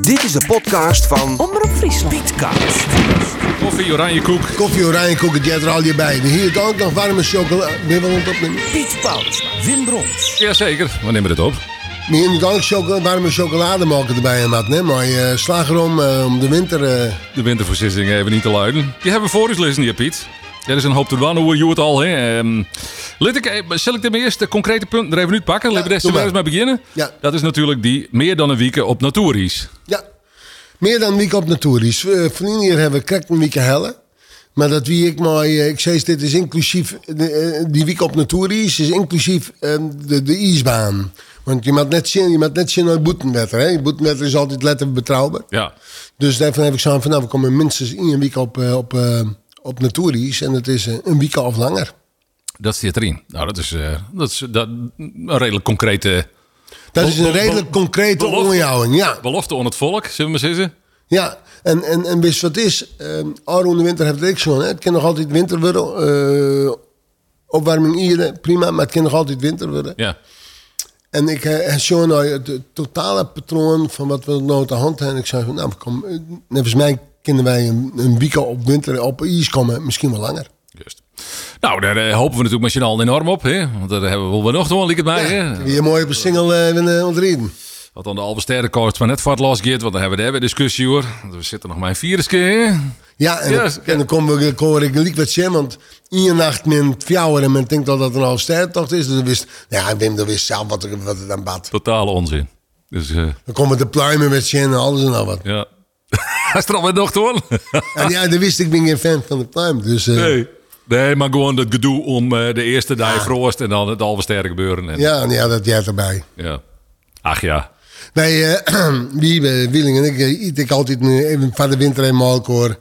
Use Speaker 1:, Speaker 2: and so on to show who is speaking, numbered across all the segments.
Speaker 1: Dit is de podcast van
Speaker 2: Omroep Friesland.
Speaker 1: Pietcast.
Speaker 3: Koffie, oranje koek.
Speaker 4: Koffie, oranje koeken, die had er al je bij. En hier het ook nog warme chocola. Ben wel aan het opnemen.
Speaker 1: Piet Paulusma, Wim Brons,
Speaker 3: Jazeker, we nemen het op.
Speaker 4: Maar hier moet ook chocola, warme chocolademelk erbij en wat, hè? Maar je slagroom eh, om de winter... eh,
Speaker 3: De winterversissing even niet te luiden. Die hebben we voor ons lezen hier, Piet. Er is een hoop te doen, hoe je het al. Hè. Ehm, laat ik, eh, zal ik de eerste concrete punten er even uitpakken? Laten we
Speaker 4: doe
Speaker 3: daar eens mee
Speaker 4: maar.
Speaker 3: beginnen.
Speaker 4: Ja.
Speaker 3: Dat is natuurlijk die meer dan een week op Naturis.
Speaker 4: ja, meer dan week op natuuris. Uh, van hier hebben we krek een week helle. Maar dat wie ik maar... eh, ik zei, dit is inclusief... de, eh, die week op natuuris is inclusief eh, de, de ijsbaan. Want je moet net zien, je moet net zien naar Boetenwetter, hè? Boetenwetter is altijd letterlijk betrouwbaar.
Speaker 3: Ja.
Speaker 4: Dus daarvan heb ik zo van, nou, we komen minstens in een week op, eh, op, eh, op Naturies. En het is eh, een week of langer.
Speaker 3: Dat zit erin. Nou, dat is, eh, dat is dat, een redelijk concrete
Speaker 4: Dat
Speaker 3: Be-
Speaker 4: is een
Speaker 3: be-
Speaker 4: redelijk
Speaker 3: be-
Speaker 4: concrete
Speaker 3: belofte.
Speaker 4: onderjouwing, ja.
Speaker 3: belofte aan het volk, zullen we maar zeggen.
Speaker 4: ja. En, en, en wist wat is, ehm Aaron de winter heeft het ook zo. Hè? Het kan nog altijd winter worden. eh, opwarming hier, prima, maar het kan nog altijd winter worden.
Speaker 3: Ja.
Speaker 4: En ik eh, en zo nou het eh, totale patroon van wat we nou te hand hebben. En ik zei van, nou, we komen, eh, volgens mij kunnen wij een, een week op winter op ijs komen. Misschien wel langer.
Speaker 3: Juist. Nou, daar eh, hopen we natuurlijk met z'n allen enorm op. Hè? Want daar hebben we wel nog wel het bij.
Speaker 4: Ja,
Speaker 3: hè?
Speaker 4: kun je mooi op een single uh, ontreden.
Speaker 3: Wat dan de Albe Sterrenkoorts maar net voor het last gaat, want dan hebben we daar weer discussie hoor. We zitten nog maar een virus keer.
Speaker 4: Ja, en,
Speaker 3: Yes.
Speaker 4: dan, en dan kom ik, kom ik gelijk wat zeggen, want in je nacht men fjouwer en men denkt al dat er een sterrentocht is. Dus dan wist, ja, Wim, dan wist zelf wat er, wat er dan bad.
Speaker 3: Totale onzin. Dus eh,
Speaker 4: Dan komen de pluimen met zin en alles en al wat.
Speaker 3: ja. Hij is er alweer nog hoor.
Speaker 4: En ja, dan wist ik, ik ben geen fan van de pluim. Dus eh,
Speaker 3: nee. nee, maar gewoon dat gedoe om eh, de eerste dag vroost en dan het Albe Sterren gebeuren. En,
Speaker 4: ja, en ja, dat jij erbij.
Speaker 3: ja. Ach ja.
Speaker 4: Wij, eh wie, eh, Wieling en ik, eh, eet ik altijd nu even van de winter in Malkoor. En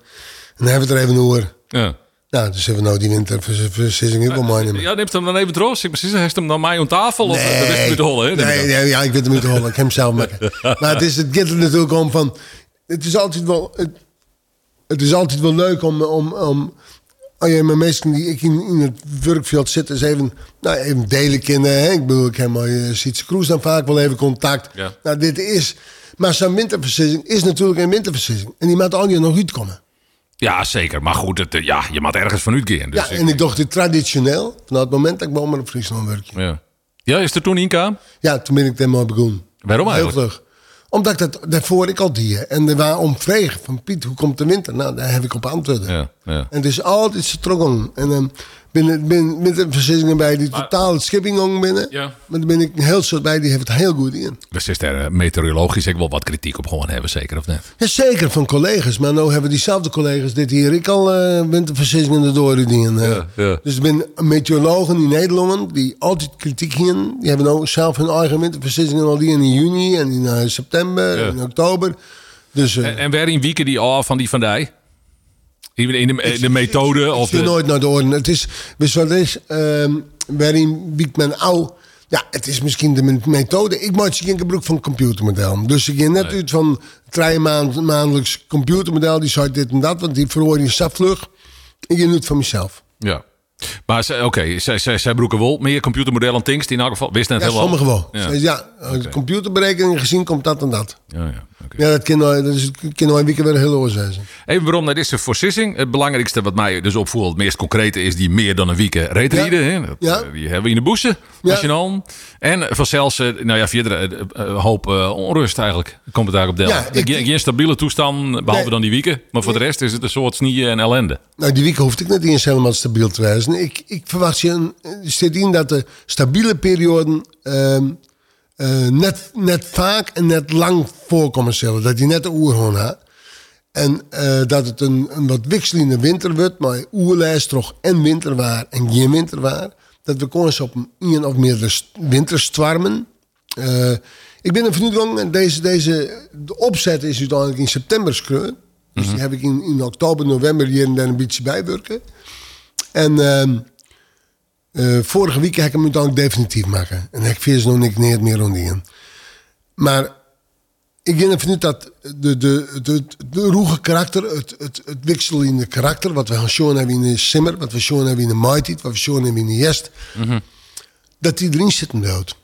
Speaker 4: dan hebben we het er even over.
Speaker 3: Ja.
Speaker 4: Nou, dus hebben we nou die winterversissing ook wel mooi nemen.
Speaker 3: Ja, neemt hem dan even trots. Ik precies, hij heeft hem dan mij aan tafel. Of, eh, dat is niet hollen, hè? neem ik
Speaker 4: Eh, Nee,
Speaker 3: aan.
Speaker 4: nee, ja, ik weet hem niet te hollen. Ik heb hem zelf maken. Maar het, is, het gaat er natuurlijk om van... Het is altijd wel... Het, het is altijd wel leuk om... om, om Oh ja, maar meestal die ik in, in het werkveld zit, is even, nou, even delen kennen. Hè? Ik bedoel, ik heb maar uh, Sietse Kroes dan vaak wel even contact.
Speaker 3: Ja.
Speaker 4: Nou, dit is... Maar zo'n winterversissing is natuurlijk een winterversissing. En die maakt al je nog uitkomen.
Speaker 3: Ja, zeker. Maar goed, het, eh, ja, je moet ergens van uitgaan. Dus
Speaker 4: Ja, en ik dacht dit traditioneel, vanaf het moment dat ik bij Omroep op Friesland werk.
Speaker 3: ja. ja, is er toen inkwam?
Speaker 4: Ja, toen ben ik daarmee begonnen.
Speaker 3: Waarom eigenlijk?
Speaker 4: Heel vlug. Omdat ik dat daarvoor ik al die. En er waren omvregen van Piet, hoe komt de winter? Nou, daar heb ik op antwoorden.
Speaker 3: Ja, ja.
Speaker 4: En het is altijd zo trokken. En dan ben ben met de verzissingen bij die totale schipping binnen.
Speaker 3: Ja.
Speaker 4: Maar dan ben ik een heel soort bij, die heeft het heel goed in.
Speaker 3: Dus is er eh, meteorologisch ook wel wat kritiek op gewoon hebben, zeker of net?
Speaker 4: Ja, zeker van collega's, maar nou hebben diezelfde collega's dit hier. Ik al eh winterversissingen erdoor dienen. eh.
Speaker 3: Ja, ja.
Speaker 4: Dus er zijn meteorologen in Nederland die altijd kritiek hier. Die hebben nou zelf hun eigen winterversissingen al die in juni en in eh, september
Speaker 3: Ja.
Speaker 4: en oktober. Dus eh,
Speaker 3: En, en waarin wieken die al van die Van Dij? In de, in de, in de methode of
Speaker 4: ik zie
Speaker 3: de...
Speaker 4: nooit naar de orde. Het is, wist wat het is, ehm, waarin wiekt men oud. Ja, het is misschien de me- methode. Ik maak geen gebruik van computermodel. Dus ik ging net uit van drie maand, maandelijks computermodel. Die zei dit en dat, want die verhoor je safvlug. Ik ging het van mezelf.
Speaker 3: Ja. Maar zij- oké, zij, zij, zij broeken wel meer computermodellen en things die in elk geval... Wist net
Speaker 4: Ja,
Speaker 3: helemaal.
Speaker 4: sommigen wel.
Speaker 3: Ja,
Speaker 4: Ze zei, Ja, computerberekening gezien komt dat en dat.
Speaker 3: ja, ja oké.
Speaker 4: Ja, dat kan nooit, dat is, dat kan nooit een weekend weer heel oor zijn.
Speaker 3: Even waarom naar deze voorzissing. Het belangrijkste wat mij dus opvoelt, het meest concrete, is die meer dan een week reetrieden. hè. Dat,
Speaker 4: Ja.
Speaker 3: eh, Die hebben we in de boezen,
Speaker 4: Ja.
Speaker 3: nationaal. En vanzelfs, eh, nou ja, verder eh, eh, hoop eh, onrust eigenlijk. Komt het daar op deel.
Speaker 4: Ja, ik-
Speaker 3: geen, geen stabiele toestand, behalve
Speaker 4: Nee.
Speaker 3: dan die wieken. Maar voor de rest is het een soort snieën en ellende.
Speaker 4: Nou, die week hoefde ik net eens helemaal stabiel te wijzen. Ik, ik verwacht je een, er zit in dat de stabiele perioden ehm, eh, net, net vaak en net lang voorkomen zullen. Dat die net de oerhoorn had. En eh, dat het een, een wat wisselende winter wordt, maar oerlijst toch en winterwaar en geen winterwaar. Dat we kans op een of meerdere st- winterstwarmen. Eh, ik ben er vanuit gegaan en deze, deze, de opzet is uiteindelijk in september schreun. Dus die heb ik in, in oktober, november hier en daar een beetje bijwerken. En ehm, eh, vorige week heb ik hem uiteindelijk definitief maken. En ik vind nog niks neer meer om die in. Maar ik denk ervan uit dat de, de, de, de roege karakter, het, het, het wisselende karakter, wat we gaan zien hebben in de Simmer, wat we zien hebben in de Mighty, wat we zien hebben in de Jest, dat die erin zitten dood.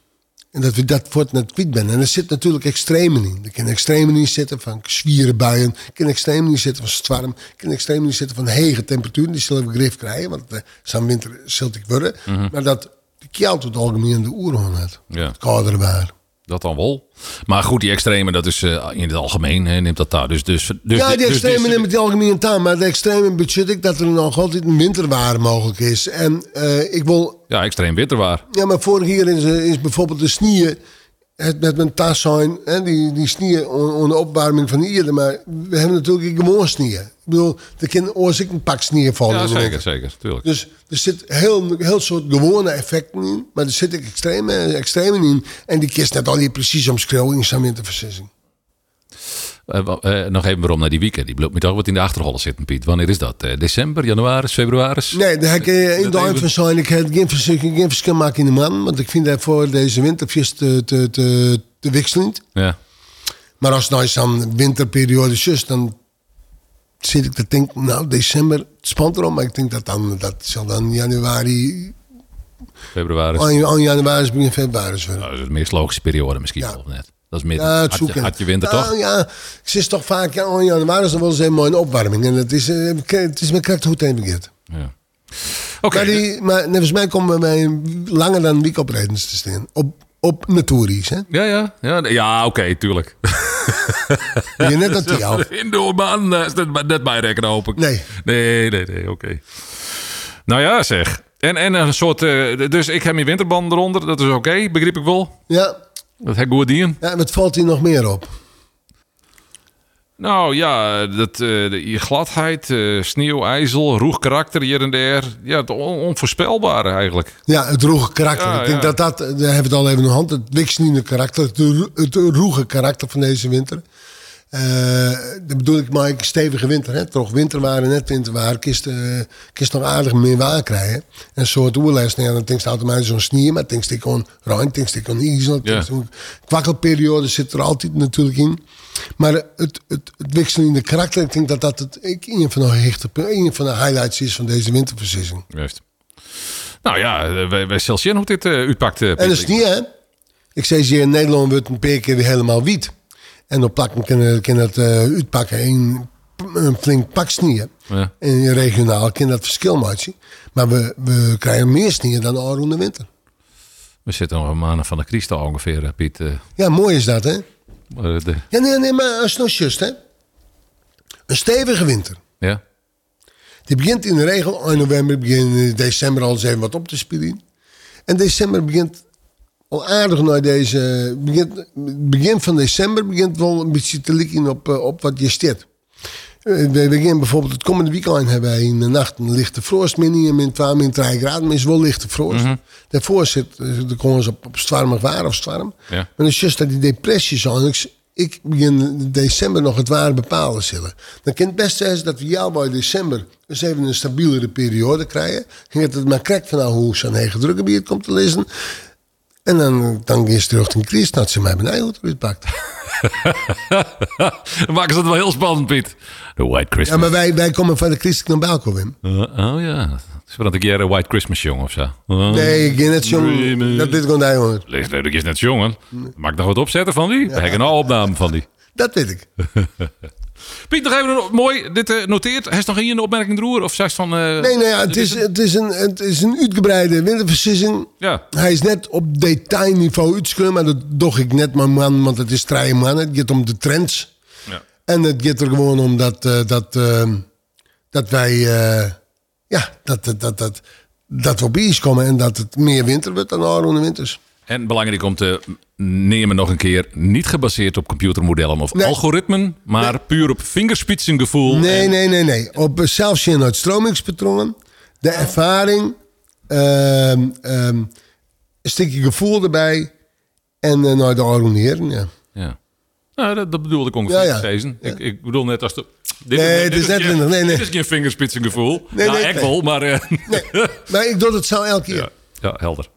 Speaker 4: En dat we dat voort net kwijt ben. En er zit natuurlijk extremen in. Er kunnen extremen in zitten van zwierenbuien. Er kunnen extremen in zitten van storm. Er kunnen extremen in zitten van hege temperaturen. Die zullen we grif krijgen, want eh, zo'n winter zult ik worden. Maar dat de koud het algemeen de oerhoorn had.
Speaker 3: Ja.
Speaker 4: Het koudere waar.
Speaker 3: Dat dan wel. Maar goed, die extreme, dat is eh, in het algemeen, hè, neemt dat daar. Dus, dus, dus,
Speaker 4: ja, die
Speaker 3: dus-
Speaker 4: extremen
Speaker 3: dus-
Speaker 4: nemen het algemeen aan. Maar de extremen budget ik dat er nog altijd een winterwaar mogelijk is. En eh, ik wil
Speaker 3: ja, extreem winterwaar.
Speaker 4: Ja, maar vorig jaar is, eh, is bijvoorbeeld de snieën. Het met mijn tas zijn, hè, die, die snieën on- onder opwarming van eerder. Maar we hebben natuurlijk ook gewoon snieën. Ik bedoel, er kan oorzaak een pak snieën vallen.
Speaker 3: Ja,
Speaker 4: in de
Speaker 3: zeker,
Speaker 4: winter.
Speaker 3: zeker. Tuurlijk.
Speaker 4: Dus er zit heel, heel soort gewone effecten in. Maar er zitten ook extreme, extremen in. En die kist net al die precies omschreeuwen in zijn winterversissing.
Speaker 3: Eh, wa- eh, nog even waarom naar die weekend. Die bloemt me toch wat in de achterholle zitten, Piet. Wanneer is dat? Eh, december, januari, februari?
Speaker 4: Nee, daar heb ik eh, in
Speaker 3: Dat
Speaker 4: de
Speaker 3: even-
Speaker 4: hand van zijn. Ik heb geen, vers- geen verschil maken in de man. Want ik vind dat voor deze winterfjes te, te, te, te wisselend.
Speaker 3: Ja.
Speaker 4: Maar als het nou eens aan winterperiode zus, dan zit ik te denken, nou, december, het spant erom. Maar ik denk dat dan, dat zal dan januari,
Speaker 3: Februari. is-
Speaker 4: aan, aan januari, begin februari zullen.
Speaker 3: Nou, dat is de meest logische periode misschien
Speaker 4: Ja.
Speaker 3: wel, of net. Dat is meer
Speaker 4: Ja,
Speaker 3: had,
Speaker 4: het
Speaker 3: je,
Speaker 4: zoeken.
Speaker 3: had je winter
Speaker 4: Nou,
Speaker 3: toch?
Speaker 4: Ja, ik zit toch vaak, ja, aan januari is dan wel eens een mooie opwarming. En het is, eh, het is mijn kracht hoe het heen begint.
Speaker 3: Ja. Oké,
Speaker 4: Maar, die, maar volgens mij komen wij langer dan week op rijdens te staan. Op, op natuurries, hè.
Speaker 3: Ja, ja, ja, nee, ja oké, tuurlijk.
Speaker 4: Ben je net aan die af.
Speaker 3: Indoorman, dat eh, is net bij- net mijn rekken, hoop ik.
Speaker 4: Nee.
Speaker 3: Nee, nee, nee, oké. Nou ja, zeg. En, en een soort... eh, dus ik heb mijn winterbanden eronder, dat is oké, begrijp ik wel.
Speaker 4: Ja,
Speaker 3: Dat heb ik goed gedaan.
Speaker 4: ja, en wat valt hier nog meer op?
Speaker 3: Nou ja, dat, eh, de, je gladheid, eh, sneeuw, ijzel, roeg karakter hier en daar. Ja, het on- onvoorspelbare eigenlijk.
Speaker 4: Ja, het roege karakter.
Speaker 3: Ja,
Speaker 4: ik denk
Speaker 3: Ah, ja.
Speaker 4: dat dat, daar hebben we het al even in de hand, het wikselende karakter, het, ro- het roege karakter van deze winter. Eh dat bedoel ik, maar een stevige winter. Hè? Toch winter waren, net winter waren, kist, eh kist nog aardig meer waar krijgen. Een soort oerlijst, nou ja, dan denk je automatisch zo'n snier, maar denk ik gewoon ruim, denk ik gewoon ijzel.
Speaker 3: Ja.
Speaker 4: denk ik aan- Kwakkelperiode zit er altijd natuurlijk in. Maar het, het, het wikselende karakter, ik denk dat dat het, ik, een, van de hoogtepunten- een van de highlights is van deze winterversissing.
Speaker 3: Juist. Nou ja, eh, wij, wij zullen zien hoe dit eh, uitpakt. eh,
Speaker 4: En dat is
Speaker 3: Piet.
Speaker 4: niet, hè? Ik zei ze hier in Nederland wordt een paar keer weer helemaal wiet. En dan plakken kunnen kan dat eh, uitpakken in p- een flink pak sneeuw.
Speaker 3: Ja.
Speaker 4: En regionaal kan dat verschil maken. Maar we, we krijgen meer sneeuw dan al rond de winter.
Speaker 3: We zitten nog een maanden van de Christa ongeveer, eh, Piet. eh, eh,
Speaker 4: Ja, mooi is dat, hè?
Speaker 3: de,
Speaker 4: Ja, nee, nee, maar als het nou just, hè? Een stevige winter.
Speaker 3: ja.
Speaker 4: Die begint in de regel in november, begin in december al eens even wat op te spelen. En december begint al aardig naar deze. Begint, begin van december begint wel een beetje te likken op, eh, op wat je steert. Eh, We beginnen bijvoorbeeld het komende weekend hebben wij in de nacht een lichte frost. Min 1, min 2, min 3 graden. Maar is wel lichte frost. Daarvoor zit eh, de kans op, op zwarmig waar of zwarm.
Speaker 3: Ja.
Speaker 4: Maar dan is juist dat die depressie zo. Ik, ik begin in december nog het ware bepalen zullen. Dan kan het best zijn dat we jou bij december eens even een stabielere periode krijgen. En dat het maar krijgt van nou hoe zo'n hege drukke bier komt te lezen. En dan, dan is het terug in Chris dat ze mij benauwd hoe het uitpakt.
Speaker 3: Dan maken ze het wel heel spannend, Piet. De White
Speaker 4: Ja,
Speaker 3: Christmas.
Speaker 4: maar wij, wij komen van de Christelijk naar Balko, Wim.
Speaker 3: Eh, oh ja, het is wel een keer een White Christmas jong of zo. Eh,
Speaker 4: Oh. Nee, ik ben net zo. Dat dit kon hij hoor.
Speaker 3: Lees nee, dat is net jongen. Maak nog wat opzetten van die. We hebben een opname van die.
Speaker 4: Dat weet ik.
Speaker 3: Piet, nog even een- mooi. Dit eh, noteert. Hij is nog hier een opmerking roer of zij is van. eh,
Speaker 4: Nee, nee, ja, het, is, het, is een, het is een uitgebreide winterversissing.
Speaker 3: Ja.
Speaker 4: Hij is net op detailniveau uitschuldig, maar dat doch ik net mijn man, want het is drie man. Het gaat om de trends.
Speaker 3: Ja.
Speaker 4: En het gaat er gewoon om dat, eh, dat, eh, dat wij, eh, ja, dat, dat, dat, dat, dat we op ijs komen en dat het meer winter wordt dan de andere winters.
Speaker 3: En belangrijk om te nemen nog een keer, niet gebaseerd op computermodellen of
Speaker 4: Nee.
Speaker 3: algoritmen, maar puur op vingerspitsengevoel.
Speaker 4: Nee,
Speaker 3: en-
Speaker 4: nee, nee, nee. Op eh, zelfs je uit stromingspatronen, de
Speaker 3: Ah.
Speaker 4: ervaring, ehm, ehm, een stukje gevoel erbij en eh naar de arroneren. Ja.
Speaker 3: Ja. Nou, dat, dat bedoelde ik ongeveer
Speaker 4: Ja, ja.
Speaker 3: Sezen. Ik, ik bedoel net als de... Dit
Speaker 4: Nee, het is net
Speaker 3: geen-
Speaker 4: minder. Nee, nee.
Speaker 3: Dit is geen vingerspitsengevoel.
Speaker 4: Nee,
Speaker 3: ja,
Speaker 4: nee,
Speaker 3: echt
Speaker 4: nee.
Speaker 3: wel, maar... eh,
Speaker 4: Maar ik doe dat zo elke keer.
Speaker 3: ja. ja, helder.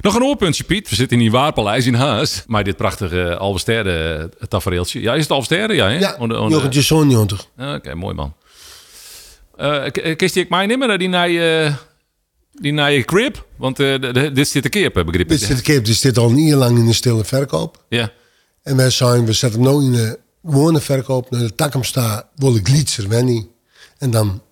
Speaker 3: Nog een oorpuntje, Piet. We zitten in die Waarpaleis in Haas. Maar dit prachtige Alvesterde tafereeltje. Ja, is het Alvesterde? Ja, hè?
Speaker 4: Ja,
Speaker 3: Onder- onder-
Speaker 4: Jochentje Zoon, joh, toch?
Speaker 3: Ah, Oké, mooi man. Eh, k- eh, Kist die ik mij nemen naar die naar Die naar je crib? Want eh, de- de- dit zit de keer, heb ik
Speaker 4: Dit
Speaker 3: begrepen.
Speaker 4: zit, ik heb- dit zit al een jaar lang in de stille verkoop.
Speaker 3: Ja.
Speaker 4: En wij zijn, we zetten hem nu in de wonenverkoop naar de Takamsta, wil ik Lietser, Wenny. En dan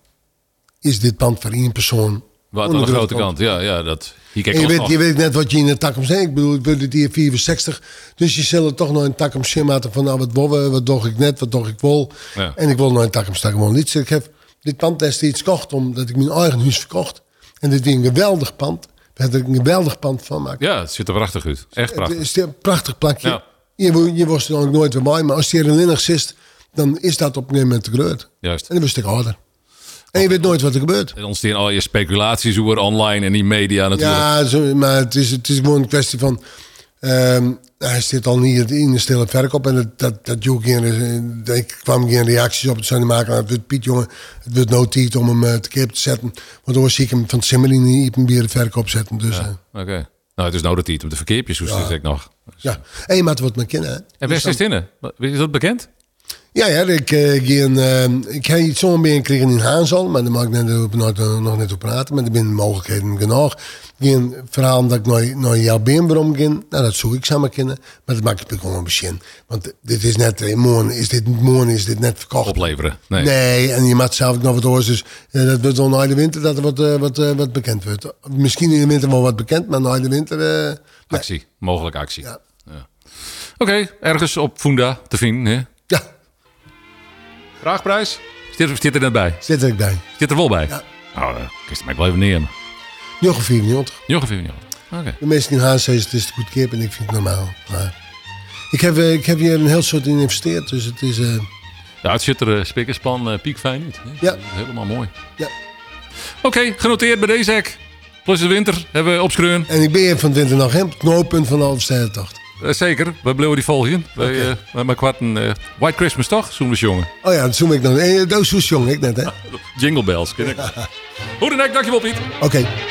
Speaker 4: is dit pand voor één persoon.
Speaker 3: Wat aan de
Speaker 4: onder
Speaker 3: grote
Speaker 4: druk.
Speaker 3: kant. Ja, ja, dat. Hier kijk
Speaker 4: En je
Speaker 3: ons
Speaker 4: weet,
Speaker 3: nog.
Speaker 4: je weet net wat je in de Takamsta Ik bedoel, ik wil het hier 64. Dus je zal er toch nog een Takamsta maken van, nou, wat wil we, wat doe ik net, wat doe ik wel.
Speaker 3: Ja.
Speaker 4: En ik wil nog een Takamsta gewoon Lietser. Ik heb dit pand destijds gekocht, omdat ik mijn eigen huis verkocht. En dit is een geweldig pand. We hebben er een geweldig pand van maken.
Speaker 3: Ja, het ziet er prachtig uit. Echt prachtig.
Speaker 4: Het is een prachtig plakje.
Speaker 3: Ja.
Speaker 4: Je, wo- je was er ook nooit weer bij, maar als je er in Linnig zit, dan is dat op een gegeven moment te groot.
Speaker 3: Juist.
Speaker 4: En dan wist ik harder. En je weet nooit wat er gebeurt.
Speaker 3: Er ontstaan al je speculaties over online en die media natuurlijk.
Speaker 4: Ja, zo, maar het is, het is gewoon een kwestie van. ehm, hij zit al niet in de stille verkoop en dat, dat, dat joeg geen, ik kwam geen reacties op het zijn maken. Het wordt Piet, jongen, het wordt no tiet om hem eh, te keer te zetten. Want dan zie ik hem van Simmerin niet in de verkoop zetten. Dus, ja.
Speaker 3: Oké. Nou, het is nodig dat om de verkeerpjes, hoe zit ik nog.
Speaker 4: ja. En je maakt wat met kinderen. hè.
Speaker 3: En best is in? Is dat bekend?
Speaker 4: Ja, ja, ik, eh, ik, ging, eh, ik heb iets zo'n kregen in Haanzal, maar daar mag ik net op, nooit, eh, nog net op praten, maar er zijn mogelijkheden genoeg. Ik ging een verhaal dat ik naar, naar jouw beenbrom ging, nou dat zoek ik samen kennen, maar dat maakt het natuurlijk wel een begin. Want dit is net, eh, morgen is dit, morgen is dit net verkocht.
Speaker 3: Opleveren. Nee.
Speaker 4: Nee. en je maakt zelf ook nog wat hoors, dus eh, dat wordt dan na de winter dat er wat, eh, wat, eh, wat bekend wordt. Misschien in de winter wel wat bekend, maar na de winter... eh, nee.
Speaker 3: Actie. Mogelijk actie.
Speaker 4: Ja.
Speaker 3: Ja. Oké, ergens op Funda te vinden. Hè?
Speaker 4: Ja,
Speaker 3: Vraagprijs? Zit er, zit er net bij?
Speaker 4: zit er ik bij.
Speaker 3: Zit er wel bij?
Speaker 4: Ja.
Speaker 3: Nou, eh, kist mij wel even nemen.
Speaker 4: Jochem 94.
Speaker 3: Jongen, vind je Oké.
Speaker 4: De mensen in Haas zeggen het is te goedkoop en ik vind het normaal. Maar ik, heb, eh, ik heb hier een heel soort in geïnvesteerd, dus het is... eh,
Speaker 3: Ja, het zit er eh, spik en span eh, piekfijn uit. hè.
Speaker 4: Ja.
Speaker 3: Helemaal mooi.
Speaker 4: ja.
Speaker 3: Oké, genoteerd bij deze hek. Plus de winter hebben we opschreun.
Speaker 4: En ik ben hier van Winter nog hem, knooppunt van de Alverstedentocht.
Speaker 3: Eh, zeker, we blijven die volgen. Wij,
Speaker 4: Oké.
Speaker 3: eh, wij maken kwart een eh, White Christmas toch, zoen we jongen.
Speaker 4: Oh ja, dat zoem ik dan. Eh, dat zoes jong ik net, hè? Oké.
Speaker 3: Jingle bells, ken ik. Hoe dan ook, dankjewel Piet.
Speaker 4: Okay.